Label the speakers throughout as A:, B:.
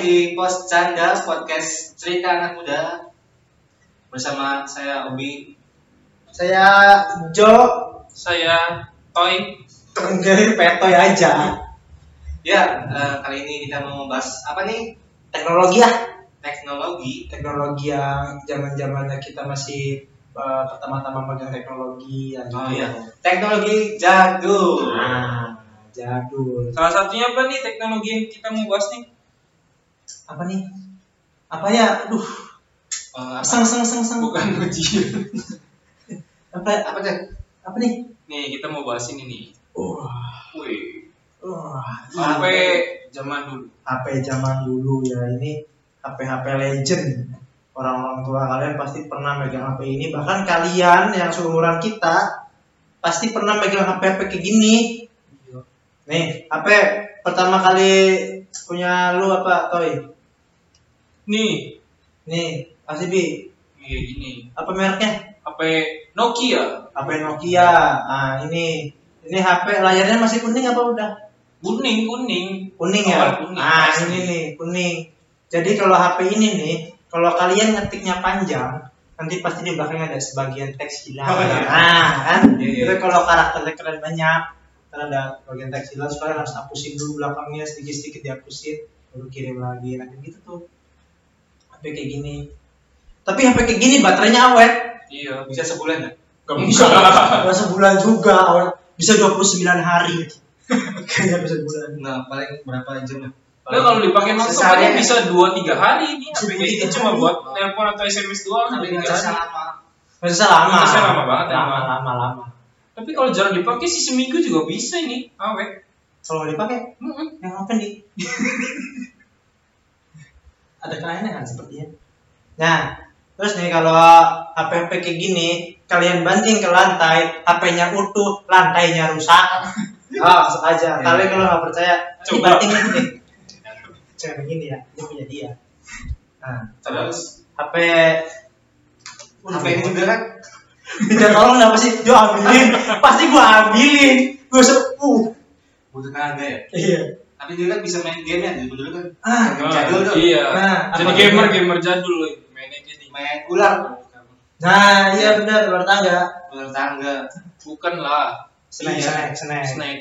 A: di Pos Canda Podcast Cerita Anak Muda bersama saya Obi.
B: Saya Jo
C: Saya Toy.
B: Tenggel Petoy aja.
A: Ya, eh, kali ini kita mau membahas apa nih?
B: Teknologi ya,
A: Teknologi.
B: teknologi yang zaman-zamannya kita masih eh, pertama-tama megang teknologi yang
A: Oh iya, teknologi jago.
B: Nah, jadul.
C: Salah satunya apa nih teknologi yang kita mau bahas nih?
B: Apa nih? Apa ya? Aduh,
A: Eh, apa,
B: sang sang sang sang.
C: Bukan ujian.
B: Apa
A: apa tuh?
B: apa nih?
C: Nih kita mau bahas ini nih.
A: Oh.
B: Wah,
C: Wih.
B: wah,
C: Sampai zaman dulu.
B: HP zaman dulu ya ini HP HP legend. Orang-orang tua kalian pasti pernah megang HP ini. Bahkan kalian yang seumuran kita pasti pernah megang HP HP kayak gini. Nih HP pertama kali punya lu apa Toy?
C: Nih.
B: Nih pasti bi
C: Iya gini.
B: apa mereknya?
C: HP Nokia.
B: HP Nokia. Nah ini ini HP layarnya masih kuning apa udah?
C: Kuning kuning.
B: kuning
C: Awal
A: Oh,
B: ya
C: kuning,
B: nah
C: pasti.
B: ini nih kuning jadi kalau HP ini nih kalau kalian ngetiknya panjang nanti pasti di belakangnya ada sebagian teks hilang
A: Oh, iya.
B: nah kan
C: Iya, iya.
B: Tapi kalau karakternya keren banyak karena ada bagian teks hilang so kalian harus hapusin dulu belakangnya sedikit-sedikit dihapusin baru kirim lagi nah kayak gitu tuh HP kayak gini tapi HP kayak gini baterainya awet
C: Iya.
A: Bisa sebulan ya?
C: Gak
B: bisa bisa sebulan juga awet bisa 29 hari kayaknya bisa sebulan
A: Nah, paling berapa jam ya?
C: Lo kalau dipakai langsung
A: Sesehari-
C: aja bisa 2-3 hari ini HP
B: Cuma
C: kayak
B: tiga
C: gitu cuma
B: hari.
C: buat telepon atau SMS doang.
A: Tapi
C: udah tiga
A: nggak
C: hari.
A: sama.
B: Prosesnya lama. ya.
C: Prosesnya lama banget,
B: Lama,
C: emang.
B: lama, lama.
C: Tapi kalau jarang dipakai sih seminggu juga bisa ini. Awet.
B: Kalau nggak dipakai,
C: Mm-mm.
B: yang apa nih? Ada kerannya kan sepertinya. Nah, terus nih kalau HP HP kayak gini, kalian banting ke lantai, HP-nya utuh, lantainya rusak. Ah, langsung aja.
A: Iya.
B: Kalian kalau nggak percaya,
C: Coba.
B: dibanting nih. Jangan begini ya, ini punya dia. Nah,
A: Terus
B: HP
A: HP yang muda kan?
B: tidak tolong kenapa sih? Yo ambilin, pasti gua ambilin. Gua uh, sepuh.
A: Butuh tenaga ya.
B: Iya.
A: Tapi dulu kan bisa main game ya dulu dulu kan.
B: Ah,
A: Jadul tuh.
C: Iya.
B: Nah,
C: Jadi
B: apa
C: gamer
B: dulu?
C: gamer jadul lo. Mainnya jadi.
A: Main ular,
B: Nah, iya benar luar tangga.
A: ular tangga,
C: Bukan lah.
B: Snack,
C: Iya.
B: snack, snack.
C: Snack.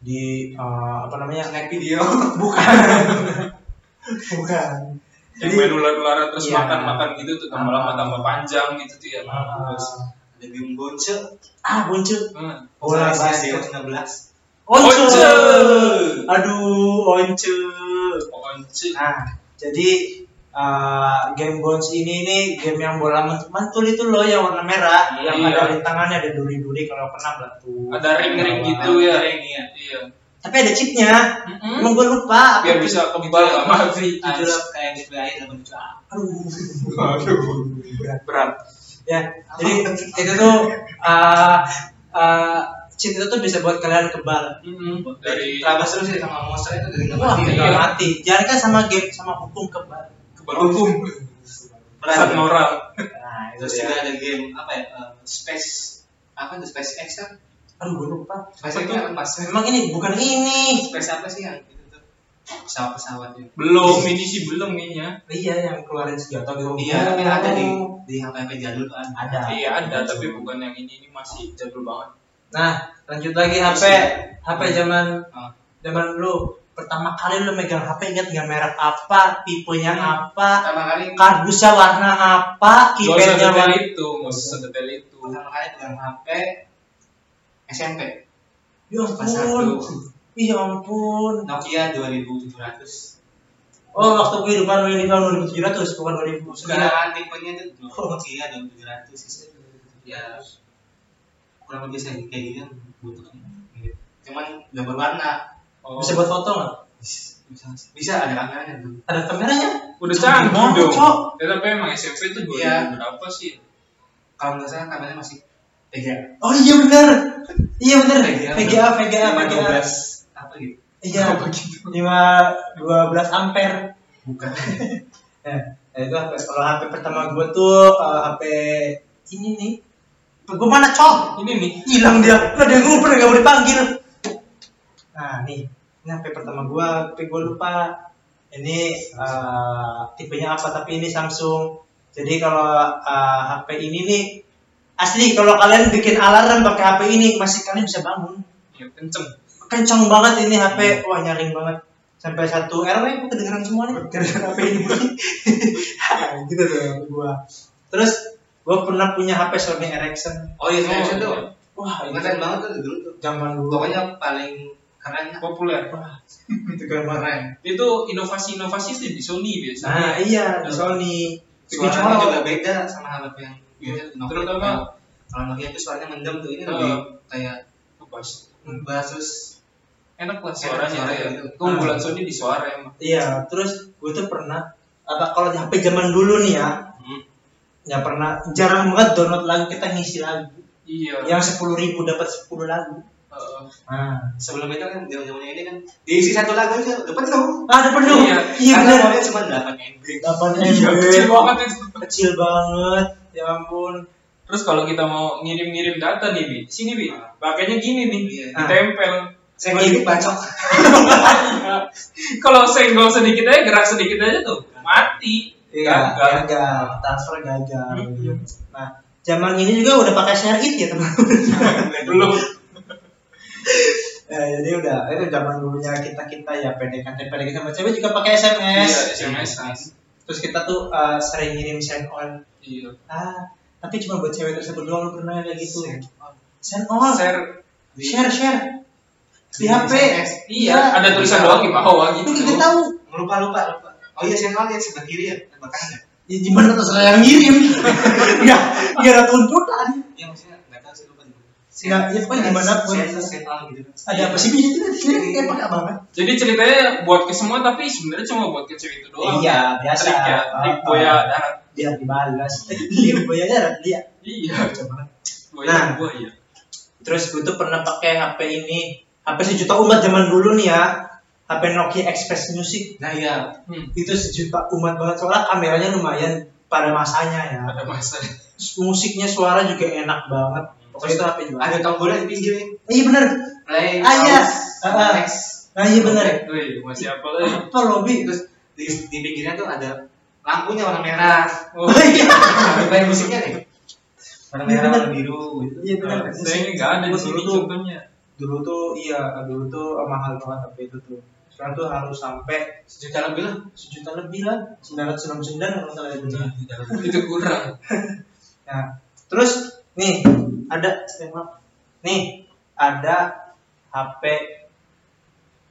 B: Di eh, apa namanya?
A: snack
B: Snack.
A: video.
B: Bukan. Bukan.
C: Yang main ular-ularan terus
B: Iya.
C: makan-makan gitu tuh
B: Ah.
C: tambah-lama tambah panjang gitu tuh ya.
B: eh,
A: Ada game bonce.
B: ah, muncul.
C: Hmm.
B: Bola
A: Sama SDO
B: basket.
A: 19.
C: Once.
B: Once. Aduh, once.
C: Once.
B: Nah, jadi eh, game Bones ini nih game yang bola ment- mentul itu loh yang warna merah, yang
C: Iya.
B: ada rintangannya ada duri-duri kalau kena batu.
C: Ada ring-ring
B: Bawah.
C: gitu ya.
A: Ring, iya.
C: Iya.
B: Tapi ada chipnya.
C: Mm-mm.
B: Emang gue lupa.
C: Biar bisa kebal gak
A: Itu
C: mati.
A: lah gitu. kayak gitu FBI dapat jutaan.
B: Aduh.
C: Aduh.
B: Berat.
C: Berat.
B: ya jadi itu tuh eh eh, cheat itu tuh bisa buat kalian kebal
C: Mm-mm.
A: dari
C: Dari
A: Trabas terus sih sama monster itu dari nggak
B: wah Nah,
A: mati
B: nggak
C: iya.
B: mati jangan kan sama game sama hukum kebal
C: kebal hukum. Iya. Pesan moral.
B: nah itu
A: terus
B: ya
A: juga ada game apa ya eh, space apa tuh space X kan
B: aduh gue lupa
A: space
C: Apa
A: X
C: tuh?
A: kan pas
B: memang ini bukan ini
A: space apa sih yang itu tuh pesawat pesawat itu
C: Belum ini sih belum kayaknya.
B: iya yang keluarin senjata gitu
A: iya tapi ada di di HP HP jadul kan. tuh ada
B: Ada. Ah.
C: Iya ada tapi bukan yang ini ini masih jadul banget.
B: nah lanjut lagi HP HP zaman
A: Ah.
B: zaman lu pertama kali lu megang HP ingat nggak merek apa tipenya apa
A: pertama kali
B: kardusnya warna apa
C: Gak
B: keypadnya
C: usah detail
B: warna
C: itu, gak usah detail itu.
A: pertama kali pegang HP SMP
B: ya
A: kelas
B: ampun
A: satu
B: Ya ampun.
A: Nokia 2700
B: Oh, waktu kehidupan lu ini tahun 2700 bukan 2009.
A: sekarang tipenya tuh Nokia 2700 sih ya kurang lebih saya kayak gini kan bentuknya mirip. cuman udah berwarna
C: Oh.
B: Bisa buat foto nggak?
A: bisa bisa ada kameranya tuh
B: Ada kameranya?
C: Udah canggih
B: Mau,
C: dong.
B: Cok.
C: Ya, tapi emang SMP itu dua
A: Iya.
C: berapa sih?
A: kalau nggak salah kameranya masih tiga
B: Oh iya benar. Iya benar. VGA VGA VGA.
A: 12 apa gitu
B: Iya.
C: Apa gitu?
B: 5 12 ampere.
A: bukan
B: Nah, nah, itu HP kalau HP pertama gua tuh eh, HP ini nih. Gua mana, Cok?
C: Ini nih.
B: Hilang dia. Lah dia ngumpet enggak boleh panggil. Nah, nih. Ini HP pertama gua, tapi gua lupa ini eh, tipenya apa tapi ini Samsung jadi kalau eh, HP ini nih asli kalau kalian bikin alarm pakai HP ini masih kalian bisa bangun
C: ya kenceng
B: kencang banget ini HP wah nyaring banget sampai satu RW aku kedengeran semua nih kedengeran HP ini Hah, gitu tuh gua terus gua pernah punya HP Sony Ericsson
A: oh iya
C: Oh,
A: Samsung tuh
C: iya.
B: wah
A: keren
B: itu
A: banget tuh dulu tuh
B: zaman dulu
A: pokoknya paling keren lah.
C: populer
B: wah itu keren banget
A: keren
C: itu inovasi-inovasi itu di Sony
B: nah
C: biasanya
B: iya di Sony bikin
A: suaranya
B: colok.
A: juga beda sama hal yang
C: Iya.
A: biasa Nokia.
C: Terutama-
A: kalau Nokia itu suaranya mendem tuh ini
C: Oh.
A: lebih kayak
C: Lepas.
A: ngebas terus
C: enak lah
A: Enak
C: suaranya
A: suara
C: ya.
A: gitu.
C: keunggulan Sony di suara emang
B: iya terus gue tuh pernah apa kalau di HP zaman dulu nih ya
A: hmm.
B: nggak pernah jarang banget download lagu kita ngisi lagu
C: iya
B: yang sepuluh ribu dapat 10 lagu
C: Heeh.
B: ah
A: sebelum itu kan zaman zamannya ini kan diisi satu lagu aja udah penuh
B: ada penuh
C: Iya.
B: iya
A: karena
B: bener
A: awalnya cuma 8 MB
B: 8
C: Iya,
B: MB.
C: kecil banget itu
B: kecil banget ya ampun
C: terus kalau kita mau ngirim-ngirim data nih bi sini bi
A: Ah.
C: pakainya gini nih
A: Iya.
C: ditempel
A: saya
C: gitu,
A: ini bacok
C: kalau senggol sedikit aja gerak sedikit aja tuh mati
B: iya
C: Gagal.
B: gagal transfer gagal
C: Iya.
B: nah zaman ini juga udah pakai share it ya teman-teman
C: belum
B: Eh, jadi udah itu zaman dulunya kita kita ya PDKT PDKT sama cewek juga pakai SMS
C: iya SMS-an
B: terus kita tuh eh, sering ngirim send on
C: iya
B: ah tapi cuma buat cewek tersebut doang lu pernah kayak gitu
A: Send
B: send on
C: share
B: share share
A: Di
B: di HP
A: SMS.
C: iya ada tulisan doang di bawah
B: itu
C: gitu
B: kita tahu
A: lupa lupa lupa oh iya saya yang sebelah kiri ya sebelah kanan ya
B: ya gimana terserah yang ngirim nggak nggak Ya, ada tuntutan
A: iya maksudnya nggak tahu sih lupa juga
B: nggak ya pokoknya gimana pun
A: Saya- saya- saya tahu gitu
B: ada apa sih bisa tidak sendiri kayak pakai apa apa
C: jadi ceritanya buat ke semua tapi sebenarnya cuma buat ke cewek itu doang
B: iya biasa
C: trik ya trik boya darat
B: biar dibalas iya boya darat iya
C: iya
B: Coba.
C: boya
B: Nah.
C: boya
B: Terus gue tuh pernah pakai HP ini, HP sejuta umat zaman dulu nih ya, HP Nokia Express Music.
A: nah iya
C: hmm.
B: Itu sejuta umat banget soalnya kameranya lumayan pada masanya ya.
C: ada masa
B: Terus Musiknya suara juga enak banget. Pokoknya itu HP juga.
A: ada tombolnya di pinggir nih
B: Eh, Iya bener.
A: play
B: Ah, iya.
A: pause,
B: Ah, ah.
A: next
B: Nah iya bener.
C: Wih, masih apa lagi
B: Apa lobby?
A: terus di, di pinggirnya tuh ada lampunya warna merah
C: oh
A: ada play musiknya nih warna
B: Iya,
A: merah
B: bener.
A: warna biru gitu
B: Iya bener.
C: saya nggak ada di
B: Musik
C: sini
B: itu.
C: contohnya
B: Dulu tuh iya dulu tuh mahal banget HP itu tuh. Sekarang tuh harus sampai
A: sejuta lebih lah
B: sejuta lebih lah, 999 kalau nggak salah ya bener.
C: itu kurang
B: Nah, terus nih ada stand-up. Nih ada HP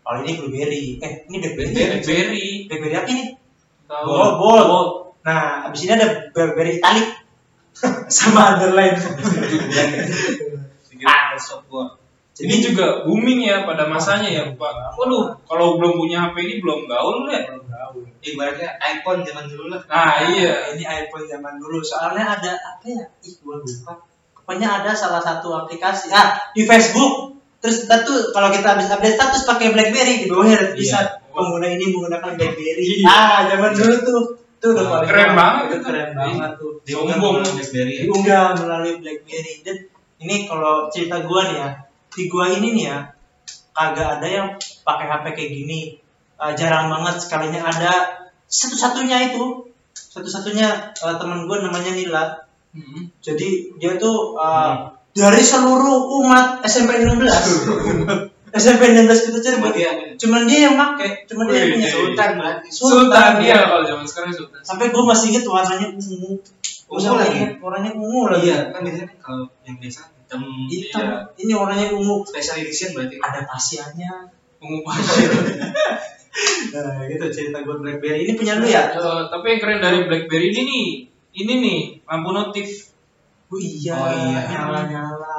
B: kalau ini BlackBerry. Eh, ini BlackBerry. ya?
C: BlackBerry
B: BlackBerry apa ini?
C: tahu
B: Gold, gold. Nah, abis ini ada BlackBerry Italic sama underline.
A: Pinggir shop Ah, gua
C: ini juga booming ya pada masanya ya pak waduh kalau belum punya HP ini belum gaul lu ya
A: ibaratnya iPhone zaman dulu lah
C: nah iya
B: ini iPhone zaman dulu. Soalnya ada apa ya? Ih, gua lupa. Pokoknya ada salah satu aplikasi. Ah, di Facebook. Terus kita tuh kalau kita habis update status pakai BlackBerry di bawahnya ada tulisan
C: Iya.
B: pengguna ini menggunakan BlackBerry.
C: Iya. Nah,
B: Ah, zaman dulu tuh tuh udah
A: Keren
B: paling
C: banget
B: itu
C: itu.
B: keren banget tuh.
C: Sombong.
A: melalui BlackBerry ya
B: Diunggah melalui BlackBerry. Dan ini kalau cerita gua nih ya, di gua ini nih ya kagak ada yang pakai HP kayak gini. Eh, jarang banget sekalinya ada satu-satunya itu satu-satunya eh, teman gue namanya Nila
C: Hmm.
B: jadi dia tuh uh, dari seluruh umat SMP 16 SMP 16 kita cari
A: Cuma
B: buat dia
A: dia
B: cuman dia yang pakai cuman dia yang
C: Wih,
B: punya
C: iya.
A: sultan berarti
C: Sultan
B: ya.
C: ya kalau zaman sekarang Sultan
B: sampai gue masih inget warnanya ungu
A: Ungu
B: Gua
A: lagi.
B: inget warnanya ungu
A: Oh
B: lagi
A: iya, kan biasanya kan kalau yang biasa hitam
B: hitam
C: Iya.
B: ini warnanya ungu
A: special edition berarti.
B: ada pasiannya
C: pengumuman
B: nah gitu cerita gue blackberry ini punya lu
A: Iya.
B: ya
C: Eh, tapi yang keren dari BlackBerry ini nih ini nih lampu notif
B: oh iya,
A: Oh iya.
B: nyala nyala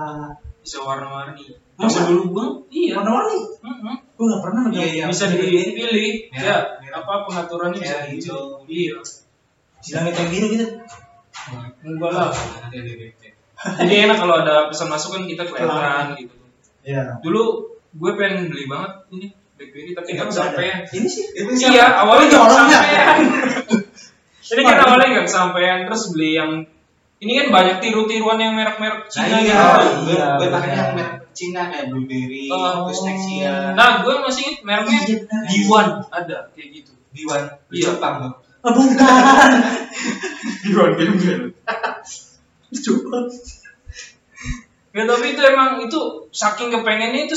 C: bisa warna-warni
B: Masa?
C: masa dulu gua iya
B: warna warni
C: Mm-mm.
B: gue nggak pernah megang
A: Iya,
C: bisa
A: BlackBerry.
C: dipilih
A: Merah,
C: ya
A: merah.
C: apa pengaturannya bisa
A: Merah,
C: hijau
A: hijau.
C: iya
B: di langit yang biru gitu
C: enggak lah jadi enak kalau ada pesan masukan kita kelihatan gitu
B: iya
C: dulu gue pengen beli banget ini BlackBerry tapi nggak kesampaian
B: ini sih
A: Itu
C: iya awalnya
B: Oh,
C: nggak
B: orang nggak?
C: kesampaian jadi kan
B: Waduh.
C: awalnya nggak kesampaian terus beli yang ini kan banyak tiru-tiruan yang merek-merek
A: Nah, iya,
C: Cina gitu
A: gue,
B: Iya,
A: gue pakai
B: benar.
A: yang merek Cina kayak blueberry,
C: Oh.
A: terus Nexia.
C: nah gue Nah, masih inget mereknya
B: Iya, benar.
C: Diwan ada kayak gitu
A: di Wan di
C: Iya.
A: Jepang tuh
B: Ah, bukan.
C: di One Gembel
B: Coba.
C: ya tapi itu emang itu saking kepengennya itu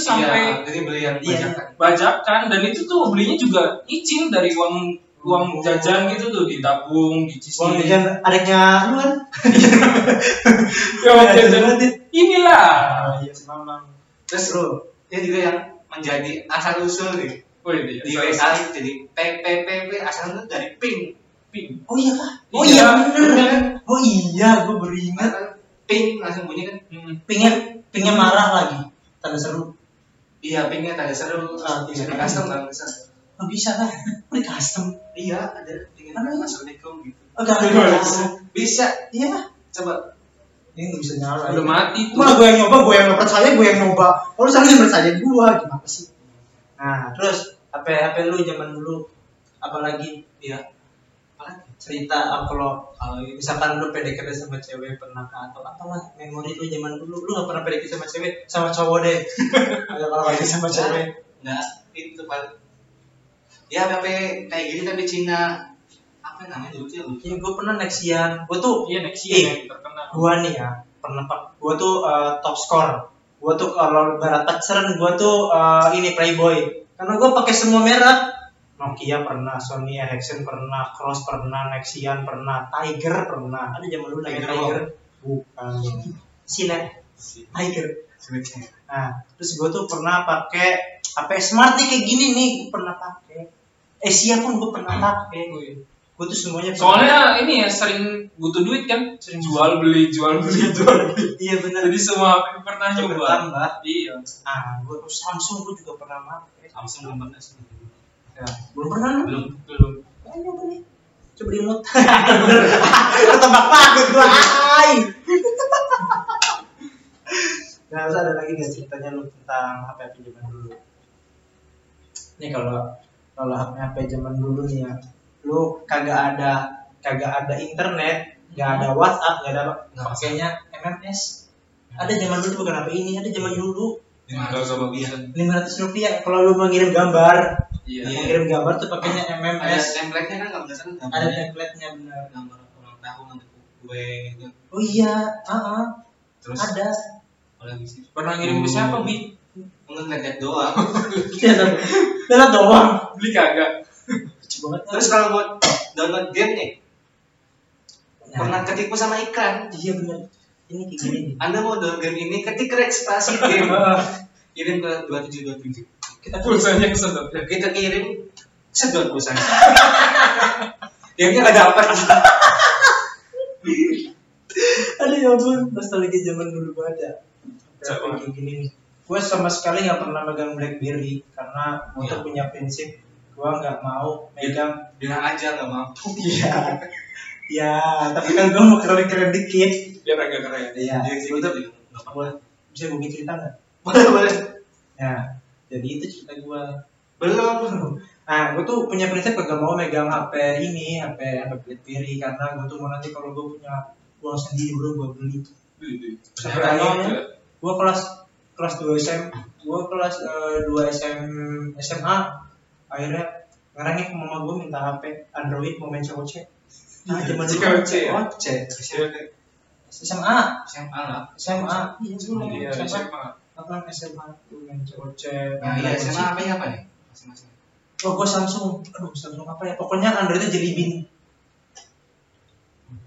A: Iya,
C: sampai
A: jadi beli yang
B: Iya.
A: banyak
C: bajakan dan itu tuh belinya juga izin dari uang uang jajan gitu tuh
B: Uang
C: ditabung dicicil
B: jajan adiknya lu kan?
C: ya uang jajan
B: Adiknya.
C: inilah
B: Ah, iya si Mamang.
A: terus
B: Bro,
A: dia juga yang menjadi asal usul gitu. nih
C: oh iya
A: di WA itu
B: gitu.
A: jadi PPPP asal itu dari pink
C: pink
B: oh iya kah? Oh
C: Iya,
B: iya bener.
C: bener.
B: Oh iya, gue beringat.
A: Nah, pink langsung bunyi kan
C: Hmm.
B: Pingnya, pingnya marah lagi. Tanda seru.
A: iya pinknya tanda seru
B: Ah,
A: bisa
B: iya.
A: di custom kan bisa
B: Nggak bisa kan? Ini custom.
A: iya ada dengan
B: Mana?
A: assalamualaikum gitu
B: Agak ada
C: Nggak bisa.
B: custom.
A: bisa
B: Iya lah.
A: coba
B: Ini nggak bisa nyala.
C: udah mati tuh
B: Malah gue yang nyoba, gue yang nggak percaya, gue yang nyoba. Lalu sekarang yang percaya gue, gimana sih? Nah, terus HP HP lu zaman dulu, apalagi ya apalagi cerita ah, kalau kalau misalkan lu PDKT sama cewek pernah kah? atau apalah memori lu zaman dulu lu nggak pernah PDKT sama cewek sama cowok deh ada kalau PDKT sama cewek
A: nggak itu paling ya PP kayak gini tapi Cina apa namanya dulu tuh ya lupa
B: ya gue pernah Nexian gue tuh
C: iya next
B: Eh.
C: year yang terkenal
B: gua nih ya pernah gua tuh uh, top score gua tuh kalau barat pacaran gua tuh uh, ini playboy karena gua pakai semua merek Nokia pernah, Sony Ericsson pernah, Cross pernah, Nexian pernah, Tiger pernah. Ada zaman dulu lagi
A: Tiger
B: Tiger. Bukan. Sinet
A: si
B: Tiger.
A: sebetulnya
B: Nah, terus gua tuh pernah pakai apa ya, Smart nih kayak gini nih gua pernah pakai. Asia pun gua pernah pakai. Gua tuh semuanya pernah.
C: soalnya ini ya sering butuh duit kan sering jual beli jual beli jual beli
B: iya benar.
C: jadi semua aku pernah nyoba
B: Bertambah.
C: iya
B: Ah, gua terus Samsung gua juga pernah pakai.
A: langsung belum pernah sih
C: Ya,
B: belum pernah kan? lu
A: belum
C: belum
B: Ayo nyoba nih coba dimut bener Lu tebak takut gua ay nah terus ada lagi nggak ceritanya lu tentang HP HP zaman dulu ini kalau kalau HP HP zaman dulu nih ya lu kagak ada kagak ada internet nggak ada WhatsApp nggak ada apa
A: Hmm. Nggak.
B: pakainya MMS ada zaman dulu bukan HP ini ada zaman dulu
A: dengan
C: Nggak usah
A: dia
B: 500 rupiah kalau lu mau ngirim gambar
A: Iya.
C: iya
B: mau ngirim gambar tuh pakainya
A: ada
B: MMS
A: template-nya kan kalau nggak salah
B: ada
A: gambarnya.
B: template-nya benar
A: gambar ulang tahun ada kue gitu
B: oh iya ah ah,
A: terus
B: ada
A: apa lagi sih
C: pernah ngirim ke siapa bi
A: mungkin lihat doang
B: Lihat Iya, doang
C: beli kagak
B: lucu banget
A: terus kalau buat download game nih
B: Nah,
A: pernah ketipu sama iklan
B: iya benar ini kayak gini nih.
A: anda mau download game ini ketik registrasi game kirim ke 2727
B: kita
C: pulsanya kesedot ya
A: kita kirim sedot pulsa gamenya nggak dapat
B: ada ya ampun nostalgia zaman dulu banget ya
C: Siapa?
B: kayak gini nih gue sama sekali nggak pernah megang BlackBerry karena gue tuh
A: Iya.
B: punya prinsip gue nggak mau megang
A: bilang aja nggak mampu
B: iya ya tapi kan gue mau keren keren dikit
C: biar agak keren
B: iya
A: Dia sih
B: gue
A: gitu,
B: tuh
A: gitu. Nggak apa-apa.
B: boleh bisa gue cerita nggak
A: boleh boleh
B: ya jadi itu cerita gue
A: belum
B: Nah, gue tuh punya prinsip kagak mau megang HP ini, HP HP BlackBerry karena gue tuh mau nanti kalau gue punya uang sendiri baru gue beli. Sampai akhirnya gue kelas kelas 2 SM, gue kelas eh, 2 SM SMA akhirnya ngerangnya ke mama gue minta HP Android mau main COC. Nah, zaman dulu
C: COC ya?
B: COC.
A: SMA
B: SMA,
A: lah
B: SMA. Iya, dulu main SMA.
C: Iya, SMA.
B: Apa SMA tuh main COC.
A: nah iya SMA apa ya apa nih masing-masing
B: Oh, gue Samsung. Aduh, Samsung apa ya? Pokoknya Androidnya jadi bin.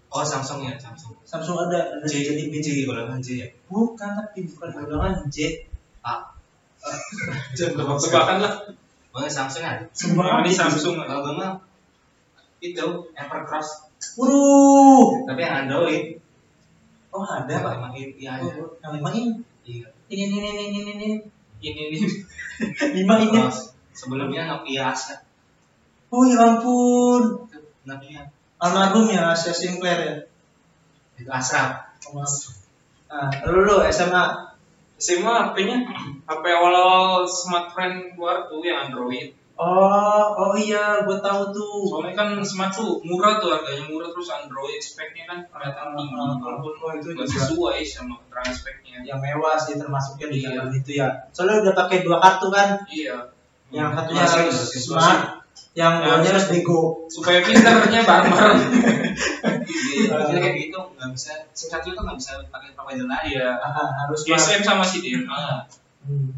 A: oh Samsung ya Samsung
B: Samsung ada, ada
A: J
B: jadi bin.
A: J golongan J ya
B: Bukan tapi bukan golongan J.
A: A
C: Tebak- tebakan lah
A: Pokoknya Samsung ada
B: Semua
C: ini Samsung
A: kalau gue mah itu Evercross
B: Waduh.
A: tapi yang Android
B: Oh ada
A: ya
B: pak.
A: emang iya aja
B: Oh, Yang lima ini.
A: iya
B: Ini ini ini ini ini ini.
C: ini ini
B: Lima ini.
A: Evercross. Iya. sebelumnya Nokia Asia
B: Oh ya ampun.
A: Nokia
B: Almarhum ya Asia Sinclair ya.
A: itu Asrap
B: Oh, maaf. Nah, lu lu SMA.
C: SMA HP-nya HP awal-awal smartphone keluar tuh yang Android
B: Oh, oh iya, gua tahu tuh.
C: soalnya kan smart tuh murah tuh harganya murah terus Android speknya kan kelihatan tinggi
B: Ah,
C: walaupun
B: oh, itu juga
C: nggak sesuai sama keterangan speknya
B: yang mewah sih termasuknya di
C: Iya.
B: dalam itu ya. Soalnya udah pakai dua kartu kan.
C: iya
B: yang
A: Hmm.
B: satunya
A: Masih,
B: harus
A: masih,
B: smart yang
C: Ya.
B: banyak harus bego
C: supaya pinternya
B: Iya.
C: bareng-bareng
A: Jadi harusnya kayak gitu nggak bisa SIM satu itu nggak bisa pakai provider lain.
C: iya
B: Ah, harus
C: GSM sama CDMA
B: Hmm.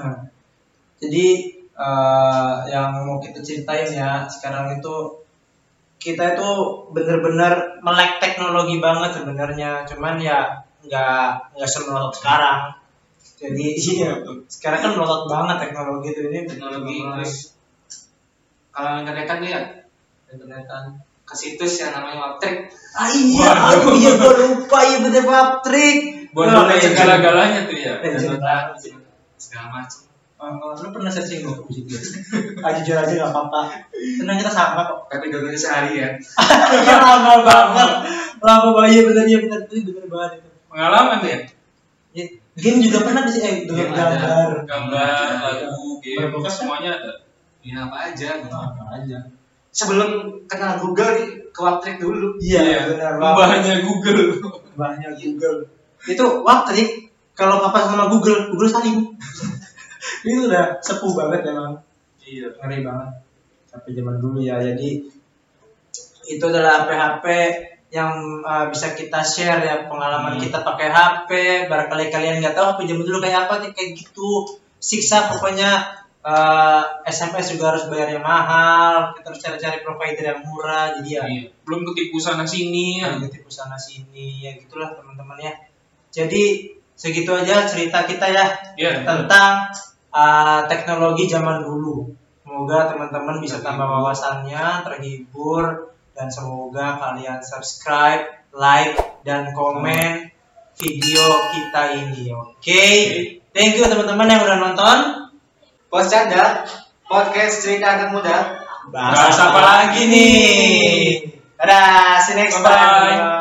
B: Nah, jadi eh, yang mau kita ceritain ya sekarang itu kita itu bener-bener melek teknologi banget sebenarnya, cuman ya nggak nggak semelotot sekarang. Jadi iya, sekarang kan melotot banget teknologi itu ini
A: Teknologi
B: Iya.
A: Inggris. Kalau internetan ya internetan ke situs yang namanya Waptek.
B: Ah iya, aduh, iya gua lupa iya bener Nah, Patrick.
C: buat
B: Wah,
C: pakai
B: legend.
C: segala-galanya tuh ya
B: Legend.
A: Internetan segala macam.
B: Oh, Eh, lu pernah searching gue? Ah, jujur aja gak apa-apa. Tenang kita sama kok.
A: Tapi dua kali sehari ya.
B: Iya lama banget. Lama banget iya bener iya bener itu bener banget itu.
C: pengalaman tuh ya
B: Ya, Game juga pernah sih eh dengan
A: Game ada.
B: gambar. Iya.
C: gambar lagu game
B: Berbekas, kan?
C: semuanya ada
A: Ya apa aja. gitu.
B: Apa aja.
A: Sebelum kenal Google nih, ke Waptek dulu.
B: Iya benar banget.
C: Mbahnya Google
B: Banyak Google. Itu Waktrik kalau papa sama Google, Google saling. itu udah sepuh banget emang.
C: iya
B: Ngeri banget. Tapi zaman dulu ya jadi itu adalah PHP yang uh, bisa kita share ya pengalaman
C: Hmm.
B: kita pakai HP barangkali kalian nggak tahu HP zaman dulu kayak apa nih kayak gitu siksa pokoknya uh, SMS juga harus bayar yang mahal kita harus cari-cari provider yang murah jadi ya
C: Iya. belum ketipu sana sini ya.
B: ya tipu sana sini ya gitulah teman-teman ya jadi segitu aja cerita kita ya
C: Iya.
B: tentang uh, teknologi zaman dulu. Semoga teman-teman bisa
C: Hmm.
B: tambah wawasannya, terhibur, dan semoga kalian subscribe, like, dan
C: Hmm.
B: komen video kita ini. Oke, thank you teman-teman yang udah nonton.
A: Bos Canda, podcast cerita anak muda.
C: Bahas apa lagi nih?
B: Dadah, see you next time.
C: Bye-bye.